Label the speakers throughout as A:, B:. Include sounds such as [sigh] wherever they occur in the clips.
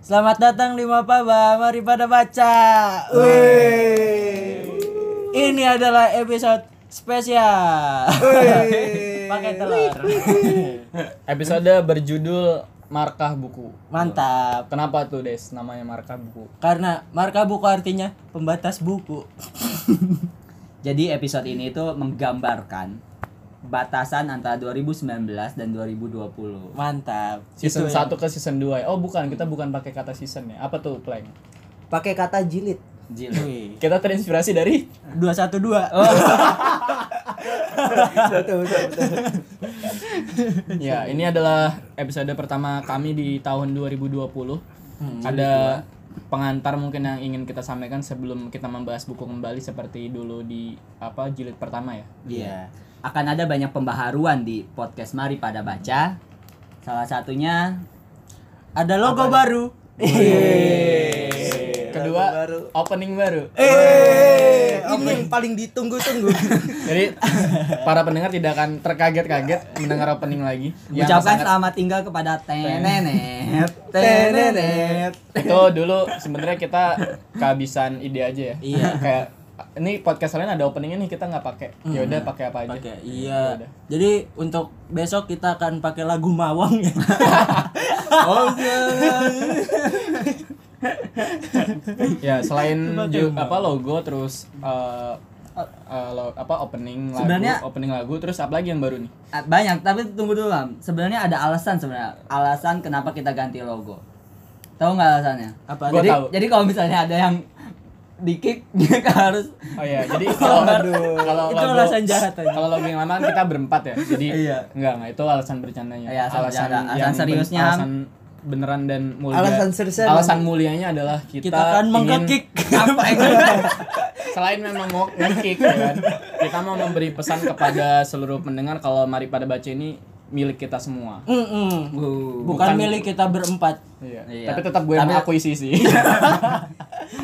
A: Selamat datang di Mapaba, mari pada baca. Wih. Ini adalah episode spesial. Pakai telur.
B: Episode berjudul Markah Buku.
A: Mantap.
B: Kenapa tuh Des namanya Markah Buku?
A: Karena marka buku artinya pembatas buku.
C: Jadi episode ini itu menggambarkan batasan antara 2019 dan 2020.
A: Mantap.
B: Season
A: Itu ya.
B: 1 ke season 2. Oh, bukan, kita bukan pakai kata season ya. Apa tuh, Plank?
D: pakai kata jilid
C: Jilid.
A: Wih.
B: Kita terinspirasi
A: [laughs]
B: dari
A: 212.
D: Oh. [laughs] betul betul betul
B: ya, ini adalah episode pertama kami di tahun 2020.
A: Hmm,
B: Ada pengantar mungkin yang ingin kita sampaikan sebelum kita membahas buku kembali seperti dulu di apa jilid pertama ya.
C: Iya. Akan ada banyak pembaharuan di podcast Mari pada baca. Salah satunya
A: Ada logo baru.
B: Kedua, opening baru.
D: eh
C: Iya.
D: ini yang paling ditunggu-tunggu
B: Jadi para pendengar tidak akan terkaget-kaget mendengar opening lagi.
C: [laughs]
B: Yang
C: ucapkan
B: sangat-
C: selamat tinggal kepada
D: [laughs]
C: Tenenet. Tenenet.
B: itu dulu sebenarnya kita kehabisan ide aja ya
A: Iya.
B: kayak ini podcast lain ada openingnya nih kita nggak pakai ya udah pakai apa aja
A: Pakai iya.
B: Yaudah.
A: Jadi untuk besok kita akan pakai lagu Mawang ya.
B: ya selain ju- apa logo terus eh, eh, lo- apa opening lagu
C: Sebenarnya-
B: opening lagu terus apa lagi yang baru nih
C: Ah, Banyak, tapi tunggu dulu, Lam. Sebenarnya ada alasan sebenarnya. Alasan kenapa kita ganti logo. Tahu nggak alasannya?
A: Apa?
B: Gua
C: jadi,
B: tahu.
C: jadi kalau misalnya ada yang di kick [laughs] dia harus
B: oh ya jadi [laughs] kalau kalau
A: Itu
B: logo
A: alasan jahat aja.
B: kalau logo yang lama kan kita berempat ya jadi
C: Iya.
B: enggak enggak itu alasan bercandanya
C: Iya, alasan bercanda. Alasan
B: yang ben-
C: seriusnya.
B: alasan beneran dan mulia
D: Alasan seriusnya.
B: alasan mulianya adalah kita,
A: Kita
C: kan
A: akan
B: ingin-
A: mengkekik.
C: apa itu?
B: selain memang mau nge-kick ya kan kita mau memberi pesan kepada seluruh pendengar kalau mari pada baca ini milik kita semua
A: Mm-mm. Bukan
B: Bukan-
A: milik kita berempat.
B: iya.
C: Iya.
B: tapi Iya, tetap gue yang
C: Tapi-
B: mengakui sih [laughs] sih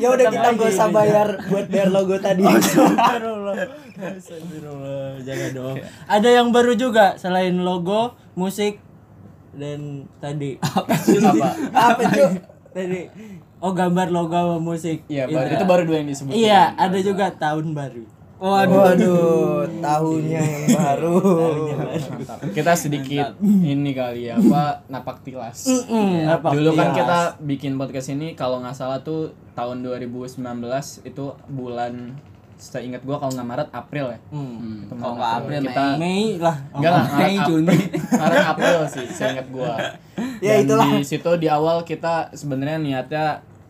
D: ya udah kita nggak usah bayar buat bayar logo tadi
A: gitu. Oh,
D: [laughs]
A: Astagfirullah. Astagfirullah. Jangan dong. Ada yang baru juga selain logo, musik dan tadi [laughs]
B: apa
D: apa itu
A: tadi oh gambar logo sama musik.
B: iya baru itu baru dua yang disebut
A: Iya, ada juga tahun baru.
D: waduh tahunnya yang baru
B: Mantap. kita sedikit ini kali ya apa napak tilas
A: Mm, apa?
B: dulu kan kita bikin podcast ini kalau nggak salah tuh tahun 2019 itu bulan seingat gue kalau nggak Maret April ya
A: Mm.
B: Itu
C: Kalau Hmm.
B: Maret,
C: nggak April,
B: kita
A: Mei lah. Oh,
B: Enggak lah,
C: Mei,
B: Maret, [laughs]
C: Juni.
B: April, Maret, April sih, seingat gua.
D: Ya,
B: Dan
D: itulah.
B: Di situ di awal kita sebenarnya niatnya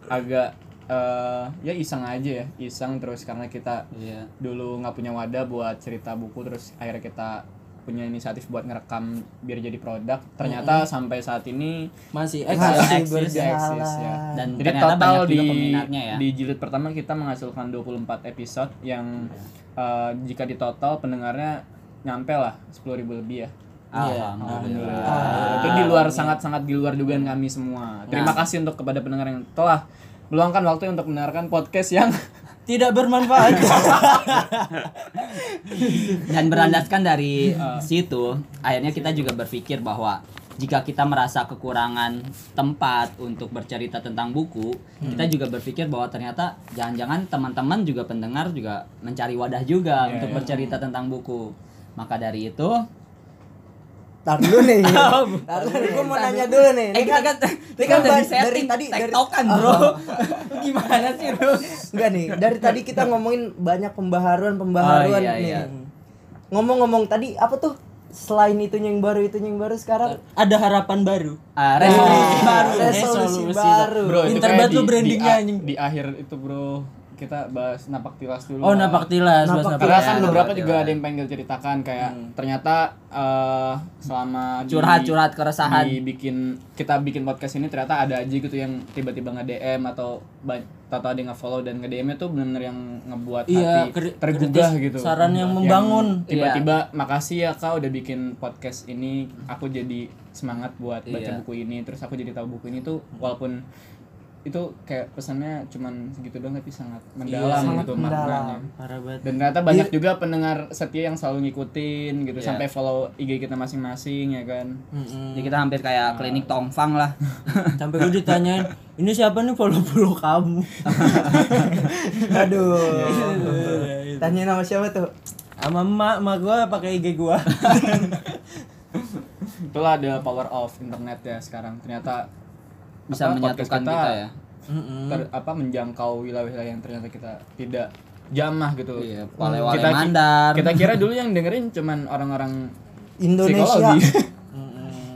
B: agak eh, ya iseng aja ya, iseng terus karena kita
C: Iya.
B: ya, dulu nggak punya wadah buat cerita buku terus akhirnya kita punya inisiatif buat ngerekam biar jadi produk. Ternyata sampai saat ini
A: masih
C: Iya,
A: ya. eksis.
D: masih
B: eksis,
D: berjalan
B: eksis, ya.
C: Dan
B: jadi
C: ternyata banyak
B: total
C: juga
B: di
C: peminatnya ya.
B: di jilid pertama kita menghasilkan 24 episode yang
C: Iya.
B: eh, jika di total pendengarnya nyampe lah 10.000 lebih ya.
C: Alhamdulillah.
B: Ah, itu di
C: iya.
B: luar sangat-sangat di luar dugaan kami semua. Terima kasih untuk kepada pendengar yang telah meluangkan waktu untuk mendengarkan podcast yang
A: Tidak bermanfaat.
B: [laughs]
C: Dan berlandaskan dari eh, situ, akhirnya kita juga berpikir bahwa jika kita merasa kekurangan tempat untuk bercerita tentang buku, kita juga berpikir bahwa ternyata jangan-jangan teman-teman juga pendengar juga mencari wadah juga untuk bercerita tentang buku. Maka dari itu,
D: Tar dulu
A: [laughs]
D: nih.
A: Oh,
D: Tar dulu nih. Gue mau nanya dulu nih. Ini
C: eh kita
D: kan
C: kan,
D: ini
C: kita
D: kan
C: udah
D: ba-
C: di
D: dari
C: setting
D: tadi dari Oh.
C: tektokan bro, [laughs] gimana sih bro?
D: enggak nih. Dari tadi kita ngomongin banyak pembaharuan
C: Oh,
D: pembaharuan
C: iya,
D: nih.
C: iya.
D: Ngomong-ngomong tadi apa tuh? Selain itunya yang baru itunya yang baru sekarang
A: ada harapan baru.
C: Ah, resolusi baru.
D: resolusi
A: Resolusi
D: baru.
B: [laughs] Bro, itu
A: Pinter
B: kayak
A: banget lu
B: di- di
A: brandingnya,
B: a-
A: anjing.
B: Di, akhir itu, Bro, kita bahas napak tilas dulu.
A: Oh,
B: lah.
A: napak tilas, Hmm. Mas,
D: Napak
A: napak
B: Karena
C: Iya,
B: kan beberapa
C: napak
B: juga
C: tilas.
B: ada yang pengen ceritakan kayak ternyata eh, selama di-
C: Curhat-curhat keresahan.
B: dibikin kita bikin podcast ini ternyata ada aja gitu yang tiba-tiba nge-DM atau atau ada yang nge-follow dan nge-DM-nya tuh benar-benar yang ngebuat
A: Iya,
B: hati
A: kri-
B: tergugah
A: kritis,
B: gitu.
A: saran yang membangun. Iya.
B: Tiba-tiba makasih ya kau udah bikin podcast ini, aku jadi semangat buat baca
C: Iya.
A: Hmm.
B: buku ini, terus aku jadi tahu buku ini tuh walaupun itu kayak pesannya cuman segitu doang tapi sangat
C: Iya,
B: mendalam
D: sangat
B: gitu
D: mendalam.
B: maknanya.
A: Parah banget.
B: Dan ternyata banyak juga pendengar setia yang selalu ngikutin gitu
C: Iya.
B: sampai follow IG kita masing-masing ya kan.
C: Jadi kita hampir kayak klinik tongfang lah.
A: Sampai gue ditanyain, ini siapa nih follow-follow kamu?
D: [laughs]
A: Iya,
D: Aduh. Tanya nama siapa tuh?
A: Sama emak, emak gue pakai IG gue.
B: Itulah ada power of internet ya sekarang. Ternyata
C: Bisa
B: apa, podcast
C: menyatukan kita ya. Hmm.
B: ter- apa menjangkau wilayah-wilayah yang ternyata kita tidak jamah gitu.
C: Iya, wale-wale
B: Kita-
C: Mandar.
B: Kita kira dulu yang dengerin cuman orang-orang
D: Indonesia.
C: [laughs]
B: psikologi.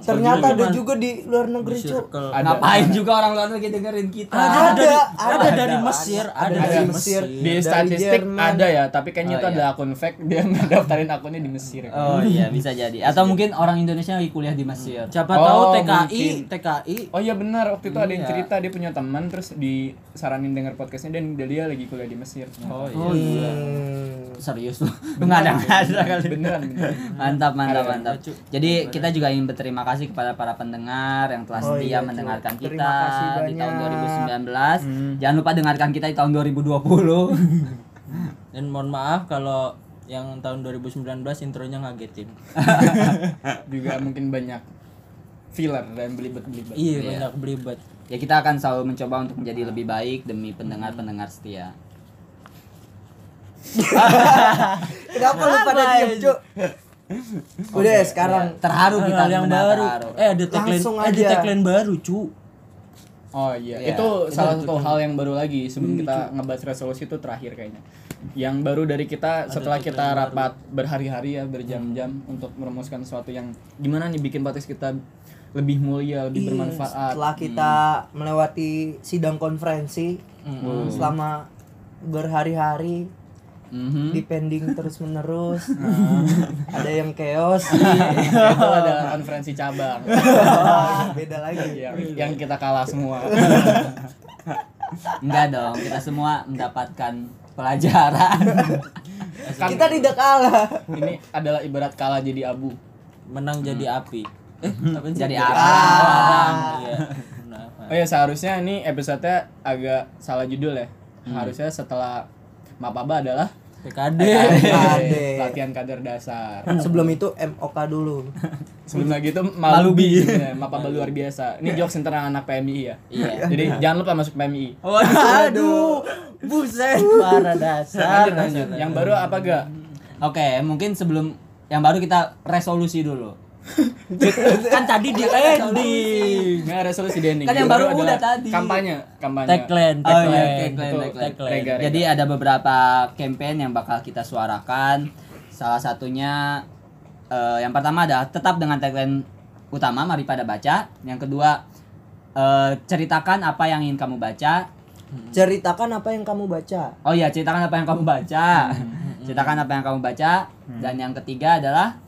D: Ternyata ada juga di luar negeri, Cuk.
A: Circle.
B: Ada.
C: Ngapain juga orang luar negeri dengerin kita?
A: Ada, dari, ada,
D: ada,
A: dari
D: ada.
A: Mesir, ada,
D: Ada
A: dari
D: dari
A: Mesir.
D: Mesir.
B: di
D: Dari
B: statistik
D: Jerman.
B: ada ya tapi kayaknya
C: Oh,
B: itu
C: iya.
B: ada akun fake dia [laughs] ngedaftarin akunnya di Mesir kan?
C: Oh iya bisa jadi. Atau mungkin orang Indonesia lagi kuliah di Mesir.
A: Siapa
B: Oh,
A: tahu TKI,
B: mungkin.
A: TKI.
B: Oh iya benar waktu itu ada yang
C: Iya.
B: cerita dia punya teman terus disaranin denger podcastnya dan dia lagi kuliah di Mesir. Oh
A: Oh iya.
D: Hmm.
C: Serius lu? Enggak ada nggak ada kali.
B: Beneran. beneran.
C: Mantap, mantap,
B: Ada,
C: mantap. Jadi kita juga ingin berterima kasih kepada para pendengar yang telah
D: Oh
C: setia
D: iya, Cuk.
C: mendengarkan
D: Terima
C: kita
D: kasih
C: di
D: banyak.
C: tahun 2019. Jangan lupa dengarkan kita di tahun 2020.
A: Dan mohon maaf kalau yang tahun 2019 intronya ngagetin.
B: Juga mungkin banyak filler dan belibet-belibet.
A: Iya, banyak belibet.
C: [laughs] ya kita akan selalu mencoba untuk menjadi lebih baik demi pendengar-pendengar setia.
D: Kenapa lu pada diem, Cuk? Udah, sekarang
C: Terharu kita
A: Hal yang
C: benar,
A: baru.
C: terharu.
A: Eh, ada tagline,
D: Langsung
A: eh, ada
D: aja.
A: tagline baru, cu.
B: Oh iya,
C: Iya.
B: itu salah satu hal yang baru lagi sebelum kita ngebahas resolusi itu terakhir kayaknya. Yang baru dari kita setelah kita rapat berhari-hari ya berjam-jam untuk merumuskan sesuatu yang gimana nih bikin podcast kita lebih mulia, lebih bermanfaat.
D: Iya, Setelah kita melewati sidang konferensi Hmm. selama berhari-hari
C: Mhm.
D: Hmm. [laughs] dipending terus [laughs] menerus ada yang [laughs] chaos Iya.
B: itu adalah konferensi cabang
D: Oh, beda lagi
B: yang, yang kita kalah semua.
C: Enggak dong, kita semua mendapatkan pelajaran.
B: Kan
D: kita tidak kalah
B: ini adalah ibarat kalah jadi abu.
A: Menang jadi api. Eh, apa sih?
C: Hmm. Jadi
A: arang. Iya. Nah,
B: Oh ya seharusnya ini episode-nya agak salah judul ya. Harusnya setelah Mapaba adalah
A: PKD.
B: Ade. latihan kader dasar.
D: sebelum itu MOK dulu
B: Sebelum lagi itu Malubi, Ya,
C: [laughs]
B: Mapaba luar biasa. Ini jokes tentang anak PMI ya.
C: Iya. Oh,
B: Jadi jangan lupa masuk PMI.
A: [laughs] Aduh, buset parah
B: Lanjut,
A: dasar.
C: iya,
B: lanjut. Yang baru apa gak?
C: Oke, mungkin sebelum yang baru kita resolusi dulu.
A: kan tadi di ending.
B: Nggak resolusi dending.
C: Kan yang baru udah tadi.
B: Kampanye, kampanye.
A: Tagline,
C: Oh iya,
A: tagline.
C: tagline,
A: Betul,
C: tagline.
A: tagline.
B: Rega, rega.
C: Jadi ada beberapa campaign yang bakal kita suarakan. Salah satunya eh, yang pertama adalah tetap dengan tagline utama mari pada baca. Yang kedua eh, ceritakan apa yang ingin kamu baca.
D: ceritakan apa yang kamu baca
C: Oh iya, ceritakan apa yang kamu baca.
A: Hmm,
C: ceritakan apa yang kamu baca dan yang ketiga adalah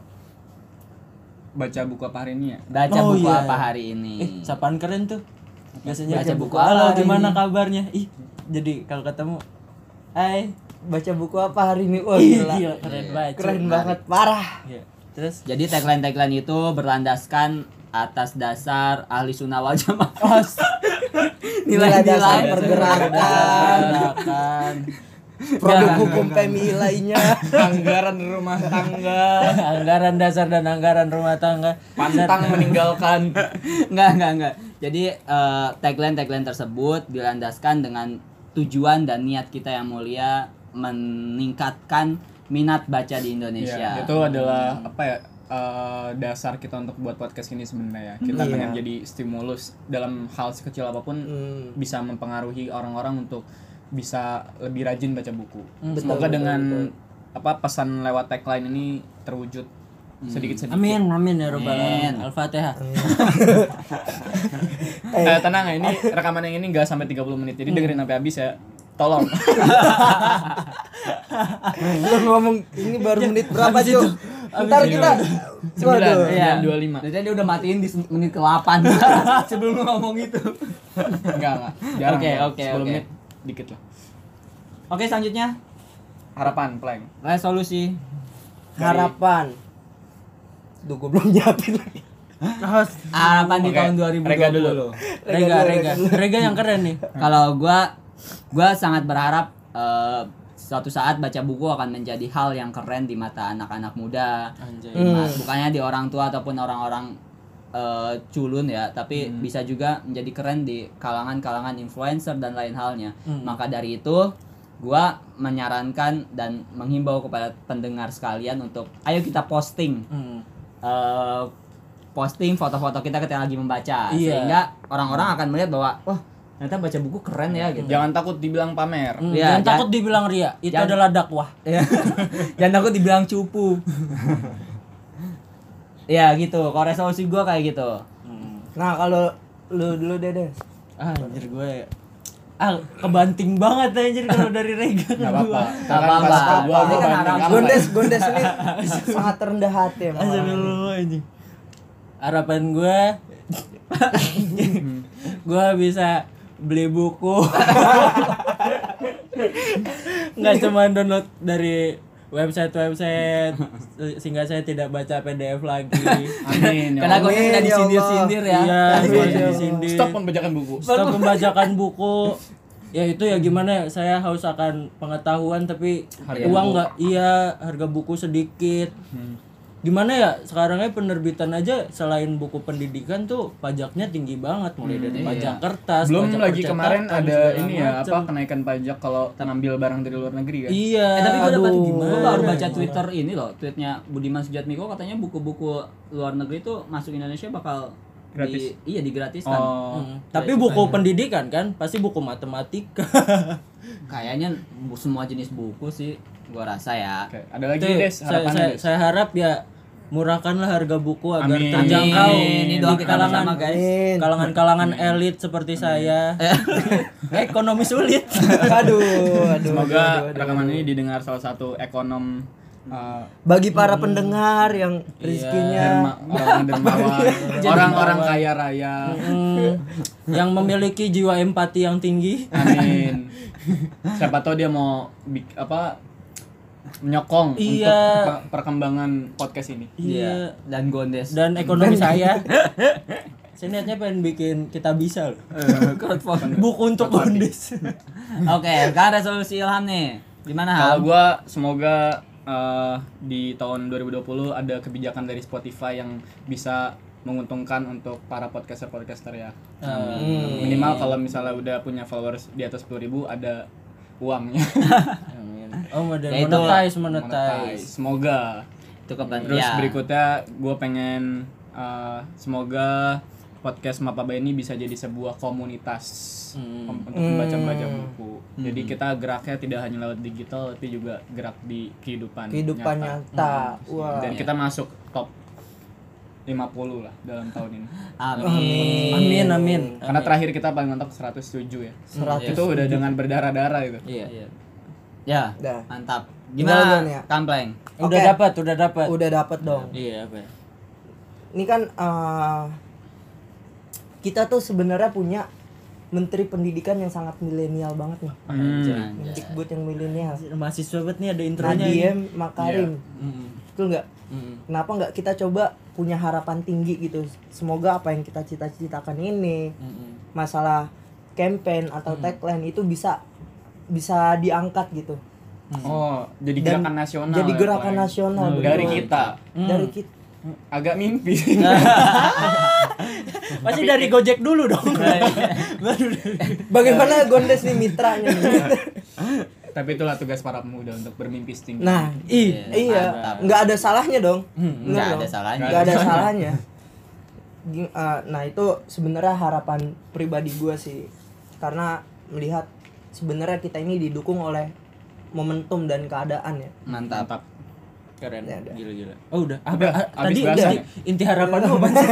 B: Baca buku apa hari ini ya?
C: baca
A: Oh
C: buku
A: iya,
C: apa
A: iya.
C: hari ini.
A: Eh, sapaan keren tuh. Biasanya
C: Baca buku
A: Halo,
C: apa hari
A: gimana
C: ini?"
A: kabarnya? Ih, jadi kalau ketemu Hai,
D: baca buku apa hari ini
C: Oh,
D: wah
A: Ih,
D: gila.
A: gila, keren
C: Iya.
A: banget.
D: keren banget parah
A: Iya. Terus
C: Jadi tagline-tagline itu berlandaskan atas dasar ahli sunnah wal jamaah.
A: Oh,
D: Nilai-nilai
C: [laughs] Nilai-nilai
D: pergerakan
A: makan
D: produk hukum PMI lainnya
B: Anggaran rumah tangga.
A: anggaran dasar dan anggaran rumah tangga.
B: pantang
C: [laughs]
B: meninggalkan
C: Enggak, enggak, enggak. Jadi eh, tagline-tagline tersebut dilandaskan dengan tujuan dan niat kita yang mulia meningkatkan minat baca di Indonesia.
B: Iya, itu adalah apa ya eh, dasar kita untuk buat podcast ini sebenarnya ya. kita pengen jadi stimulus dalam hal sekecil apapun bisa mempengaruhi orang-orang untuk bisa lebih rajin baca buku
C: Hmm.
B: semoga dengan apa pesan lewat tagline ini terwujud
C: Hmm.
B: sedikit sedikit
A: Amin, amin ya robbal alamin. Al-Fatihah.
B: eh, tenang ya ini rekaman yang ini nggak sampai 30 menit
C: Hmm.
B: jadi dengerin sampai habis ya
C: [laughs]
B: tolong
D: [laughs] lu ngomong ini baru menit berapa Cuk? ntar kita
B: sembilan
D: waduh
B: sembilan dua lima
C: Jadi dia iya. udah matiin di se- menit
B: [laughs]
C: ke-8 [laughs] sebelum ngomong itu.
B: enggak enggak jarang
C: Oke,
B: jarang.
C: oke,
B: 10
C: oke.
B: menit dikit lah
C: Oke, selanjutnya
B: harapan plank
C: resolusi.
D: harapan Duh gue belum nyiapin lagi
C: Harapan di tahun 2020.
B: Rega dulu.
A: Rega, rega,
B: [laughs]
A: rega yang keren nih.
C: Nah. Kalau gua gua sangat berharap eh, suatu saat baca buku akan menjadi hal yang keren di mata anak-anak muda.
B: Anjay.
C: Di ma- Bukannya di orang tua ataupun orang-orang eh, culun ya, tapi bisa juga menjadi keren di kalangan-kalangan influencer dan lain halnya. Maka dari itu gua menyarankan dan menghimbau kepada pendengar sekalian untuk ayo kita posting
A: Hmm.
C: eh, posting foto-foto kita ketika lagi membaca
A: Iya.
C: sehingga orang-orang akan melihat bahwa wah ternyata baca buku keren ya gitu.
B: Jangan takut dibilang pamer.
A: Hmm,
C: Iya,
A: jangan
C: jangan-
A: takut dibilang ria, itu
C: jangan-
A: adalah
C: [laughs]
A: dakwah.
C: Ya. Jangan takut dibilang cupu. ya gitu, kalau resolusi gua kayak gitu.
D: Nah, kalau lu dulu deh deh.
A: Ah, anjir gue ah kebanting banget anjir kalau dari rega ke
C: [laughs]
B: Gak apa-apa.
A: gua.
B: Kan
C: apa-apa.
B: pas ke gua,
C: Ini
B: gua
C: kan
B: banding
C: harapan.
B: kamu.
D: Gondes, Gondes ini sangat rendah hati emang.
A: Astagfirullah anjing. Harapan
C: [laughs]
A: gue gue bisa beli
C: [laughs]
A: buku. Nggak cuma download dari website-website sehingga saya tidak baca PDF lagi.
C: [laughs]
B: Amin. ya
C: Karena
B: Allah.
C: gua
D: Amin,
C: sudah
D: ya
C: disindir-sindir ya.
A: Iya, gue
D: Iya.
A: di sini.
B: Stop pembajakan buku.
A: Stop pembajakan buku. Ya itu ya gimana ya, saya haus akan pengetahuan tapi
B: Harga
A: uang
B: buku. Hmm.
A: nggak iya harga buku sedikit. Gimana ya sekarangnya penerbitan aja selain buku pendidikan tuh pajaknya tinggi banget mulai dari
B: Hmm,
A: pajak
B: iya.
A: kertas,
B: Belum
A: pajak
B: lagi kemarin
A: percetakan,
B: ada
A: segala
B: ini ya
A: macam.
B: apa kenaikan pajak kalau ngambil barang dari luar negeri kan.
A: Iya.
C: Eh, tapi gue dapat
A: aduh,
C: gue baru baca Twitter ini loh, tweetnya Budiman Sujatmiko katanya buku-buku luar negeri itu masuk Indonesia bakal
B: Gratis.
C: Di, iya digratiskan.
B: Oh.
A: Hmm, Tapi buku pendidikan kan pasti buku
B: [laughs]
A: matematika.
C: Kayaknya bu- semua jenis buku sih gua rasa ya.
B: Oke, ada lagi
A: Itu
B: Des,
A: saya,
B: harapannya
A: saya,
B: Des.
A: saya harap ya murahkanlah harga buku agar
B: Amin.
A: terjangkau
C: Amin. Ini doa
A: di
C: kita
A: kalangan
C: bersama, guys.
D: Amin.
A: kalangan-kalangan elit seperti [laughs] saya. Ekonomi sulit.
D: Aduh, aduh.
B: Semoga rekaman ini didengar salah satu ekonom uh,
D: Bagi para pendengar yang
B: Iya.
D: rezekinya
B: derma- orang dermawan, orang-orang kaya raya.
A: Hmm, yang memiliki jiwa empati yang tinggi.
B: Amin. Siapa tahu dia mau bik- apa menyokong
A: Iya.
B: untuk pe- perkembangan podcast ini.
A: Iya.
C: Dan Gondes.
A: Dan ekonomi saya. Saya niatnya pengen bikin kita bisa loh.
C: Crowdfunding.
A: Buku untuk kondis.
C: Oke, sekarang resolusi Ilham nih. Gimana Ham?
B: Kalau gua semoga eh, di tahun 2020 ada kebijakan dari Spotify yang bisa menguntungkan untuk para podcaster-podcaster ya. Minimal kalau misalnya udah punya followers di atas 10.000 ada uangnya.
A: Oh, model
C: Ya, itu.
B: Monetize.
A: monetize, monetize.
B: Semoga.
C: Itu kebetulan.
B: Terus
C: ya.
B: berikutnya gue pengen eh, semoga podcast Mapaba ini bisa jadi sebuah komunitas pem- untuk membaca-baca
D: Hmm.
B: buku. Jadi kita geraknya tidak hanya lewat digital tapi juga gerak di kehidupan.
D: kehidupan
B: nyata.
D: nyata. Wah.
B: Dan kita masuk top 50 lah dalam tahun ini.
C: Amin.
A: Amin, amin.
B: Karena terakhir kita paling mantap 107 ya.
D: 107.
B: Itu udah dengan berdarah-darah itu.
A: Iya.
C: Ya.
D: Dah.
C: Mantap.
D: Gimana,
C: Gimana?
D: Nia?
C: Kampleng.
A: Udah
D: Oke.
A: dapat, udah dapat.
D: Udah dapat dong.
A: Iya, apa? ya?
D: Ini kan eh, kita tuh sebenarnya punya menteri pendidikan yang sangat milenial banget nih.
B: Hmm.
D: Mendikbud yang milenial.
A: Mahasiswa banget nih ada intronya.
D: Nadiem Makarim. Betul nggak?
A: Mm.
D: Kenapa nggak kita coba punya harapan tinggi gitu? Semoga apa yang kita cita-citakan ini, masalah campaign atau tagline itu bisa bisa diangkat gitu.
B: Oh, jadi
D: Dan
B: gerakan nasional.
D: jadi
B: ya,
D: gerakan
B: Bang.
D: nasional,
B: dari
D: betul.
B: kita.
D: Dari kita
B: Agak mimpi.
A: Pasti dari Gojek dulu [laughs] dong. iya. Baru dari-
D: Bagaimana Gondes nih mitranya nih?
B: Tapi itulah tugas para pemuda untuk bermimpi setinggi.
D: Nah, i-
C: Iya,
D: iya,
C: mantap. Hmm,
D: nggak ada salahnya dong. Bener
C: nggak
D: dong?
C: ada salahnya.
D: Nggak
C: [laughs]
D: ada salahnya. Gi- eh, nah itu sebenarnya harapan pribadi gue sih, karena melihat sebenarnya kita ini didukung oleh momentum dan keadaan ya.
C: Mantap.
B: Mantap.
A: Keren.
D: Ya, udah.
A: Gila-gila. Oh, udah. Apa?
B: Udah,
A: ah,
B: habis
A: tadi
B: bahasan
A: tadi inti harapan lu apa sih?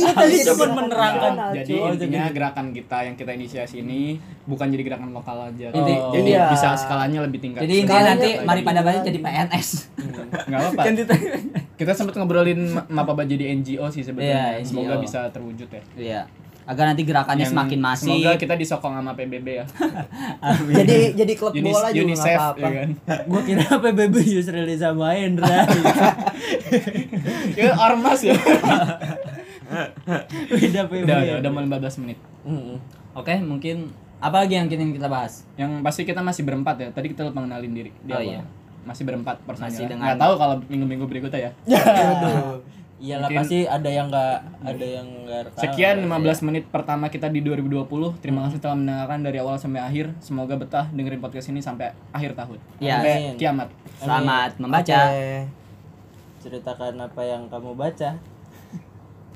D: Iya,
A: tadi
D: jadi
A: cuma
D: gerakan
A: menerangkan.
D: nasional,
B: Jadi
D: cuy.
B: intinya gerakan kita yang kita inisiasi ini bukan jadi gerakan lokal aja.
C: Inti-
B: Oh, jadi
D: iya.
B: bisa skalanya lebih tingkat.
C: Jadi intinya nanti
D: lagi.
C: mari pada banyak jadi PNS.
B: Enggak apa-apa. Kita sempat ngobrolin ma- mapaba jadi NGO sih
C: Iya,
B: sebetulnya.
C: NGO.
B: Semoga bisa terwujud ya.
C: Iya. agar nanti
A: Kan
C: gerakannya
B: Yang
A: [laughs]
C: semakin masif
B: Semoga kita disokong sama PBB ya.
D: jadi jadi klub
B: Unis-
D: bola juga nggak
B: UNICEF
D: apa-apa
B: ya kan. [laughs]
A: Gue kira PBB Yusril Iza
C: [laughs]
A: Mahendra.
B: Ya ormas ya.
A: [laughs] Beda PBB.
B: udah, udah, udah mau 15 menit.
A: Mm-mm.
C: oke mungkin apa lagi yang kita yang kita bahas
B: Yang pasti kita masih berempat ya. Tadi kita lupa kenalin diri. di
C: Oh, iya.
B: awal. Masih berempat personilnya.
C: Masih dengan-
B: Nggak tahu kalau minggu-minggu berikutnya ya.
A: Iyalah
B: Mungkin-
A: Iya pasti ada yang nggak ada yang nggak rekam.
C: Iya,
B: Sekian 15 menit pertama kita di 2020. Terima
C: Hmm.
B: kasih telah mendengarkan dari awal sampai akhir. Semoga betah dengerin podcast ini sampai akhir tahun.
C: Ya.
B: Sampai
A: Amin.
B: kiamat.
A: Amin.
C: selamat membaca
D: Oke.
A: Ceritakan apa yang kamu baca.